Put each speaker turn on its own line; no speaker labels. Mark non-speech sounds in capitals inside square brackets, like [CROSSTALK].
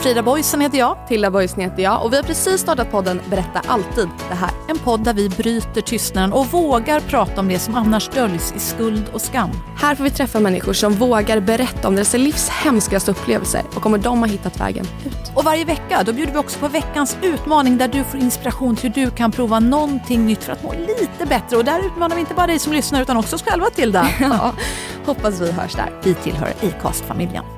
Frida Boysen heter jag.
Tilda Boysen heter jag och vi har precis startat podden Berätta alltid det här.
En podd där vi bryter tystnaden och vågar prata om det som annars döljs i skuld och skam.
Här får vi träffa människor som vågar berätta om deras livs hemskaste upplevelser och kommer de ha hittat vägen ut.
Och varje vecka då bjuder vi också på veckans utmaning där du får inspiration till hur du kan prova någonting nytt för att må lite bättre. Och där utmanar vi inte
[LAUGHS]
bara dig som lyssnar utan också oss själva Tilda.
Ja, hoppas vi hörs där.
Vi tillhör Acast-familjen.